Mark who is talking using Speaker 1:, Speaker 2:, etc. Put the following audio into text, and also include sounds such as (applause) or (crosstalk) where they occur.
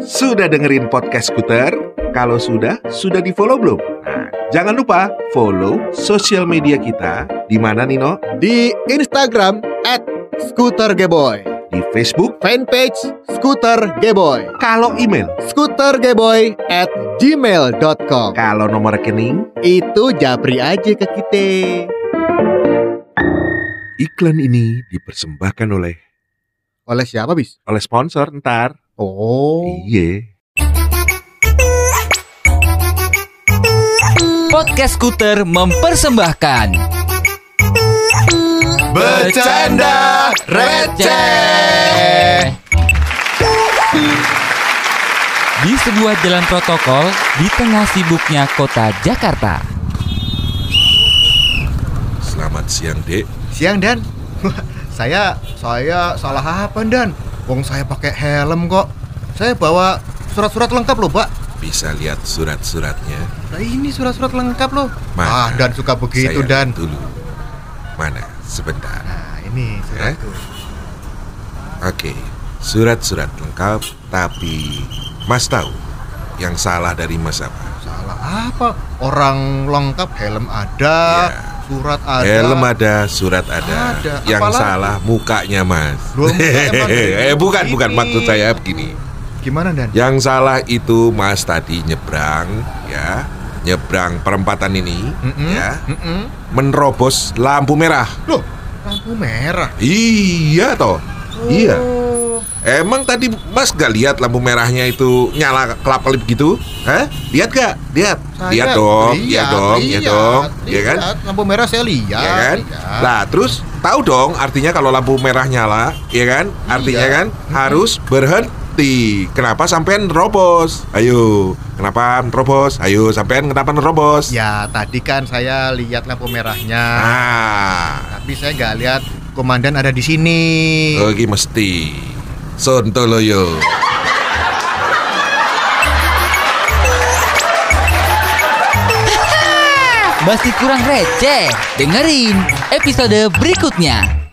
Speaker 1: Sudah dengerin podcast Skuter? Kalau sudah, sudah di follow belum? Nah, jangan lupa follow sosial media kita di mana Nino?
Speaker 2: Di Instagram at Scooter Geboy
Speaker 1: Di Facebook.
Speaker 2: Fanpage Scooter Geboy
Speaker 1: Kalau email,
Speaker 2: Scooter Geboy at gmail.com
Speaker 1: kalau nomor rekening,
Speaker 2: Itu japri aja ke kita
Speaker 1: iklan ini dipersembahkan oleh
Speaker 2: Oleh siapa bis?
Speaker 1: oleh sponsor ntar.
Speaker 2: Oh
Speaker 1: Iya.
Speaker 3: Podcast Skuter mempersembahkan
Speaker 1: Bercanda
Speaker 3: Receh Di sebuah jalan protokol Di tengah sibuknya kota Jakarta
Speaker 1: Selamat siang, Dek.
Speaker 2: Siang Dan (laughs) Saya, saya salah apa Dan? Wong saya pakai helm kok Saya bawa surat-surat lengkap loh Pak
Speaker 4: Bisa lihat surat-suratnya.
Speaker 2: Nah ini surat-surat lengkap loh Ah
Speaker 4: Mana?
Speaker 2: Dan suka begitu
Speaker 4: Saya
Speaker 2: Dan
Speaker 4: lihat Dulu. Mana? Sebentar.
Speaker 2: Nah ini surat
Speaker 4: Eh? Oke. Surat-surat lengkap, tapi Mas tahu yang salah dari Mas apa?
Speaker 2: Salah apa? Orang lengkap helm ada,
Speaker 4: Iya.
Speaker 2: surat ada.
Speaker 4: Helm ada, surat ada.
Speaker 2: Ada.
Speaker 4: Yang
Speaker 2: Apalagi?
Speaker 4: salah mukanya Mas.
Speaker 2: Loh,
Speaker 4: (laughs)
Speaker 2: mukanya Mas.
Speaker 4: eh bukan, bukan
Speaker 2: Ini.
Speaker 4: maksud saya Ya. begini.
Speaker 2: Gimana Dan?
Speaker 4: Yang salah itu Mas tadi nyebrang, ya, nyebrang perempatan ini,
Speaker 2: Mm-mm,
Speaker 4: ya,
Speaker 2: mm-mm.
Speaker 4: menerobos lampu merah.
Speaker 2: Loh, lampu merah.
Speaker 4: Iya toh. Iya.
Speaker 2: Oh,
Speaker 4: Emang tadi Mas gak lihat lampu merahnya itu nyala kelap-kelip gitu? Hah? Lihat gak? Lihat.
Speaker 2: saya
Speaker 4: lihat Iya dong, lihat, dong,
Speaker 2: lihat,
Speaker 4: lihat dong. Iya kan?
Speaker 2: lihat. Lampu merah saya lihat.
Speaker 4: Iya kan?
Speaker 2: lihat.
Speaker 4: Lah, terus tahu dong artinya kalau lampu merah nyala, ya kan? Artinya
Speaker 2: Iya.
Speaker 4: kan harus berhenti. Kenapa sampean nerobos? Ayo, kenapa nerobos? Ayo, sampean kenapa nerobos?
Speaker 2: Ya, tadi kan saya lihat lampu merahnya,
Speaker 4: Ah,
Speaker 2: tapi saya nggak lihat komandan ada di sini.
Speaker 4: lagi mesti. Sontoloyo.
Speaker 3: Masih kurang receh Dengerin episode berikutnya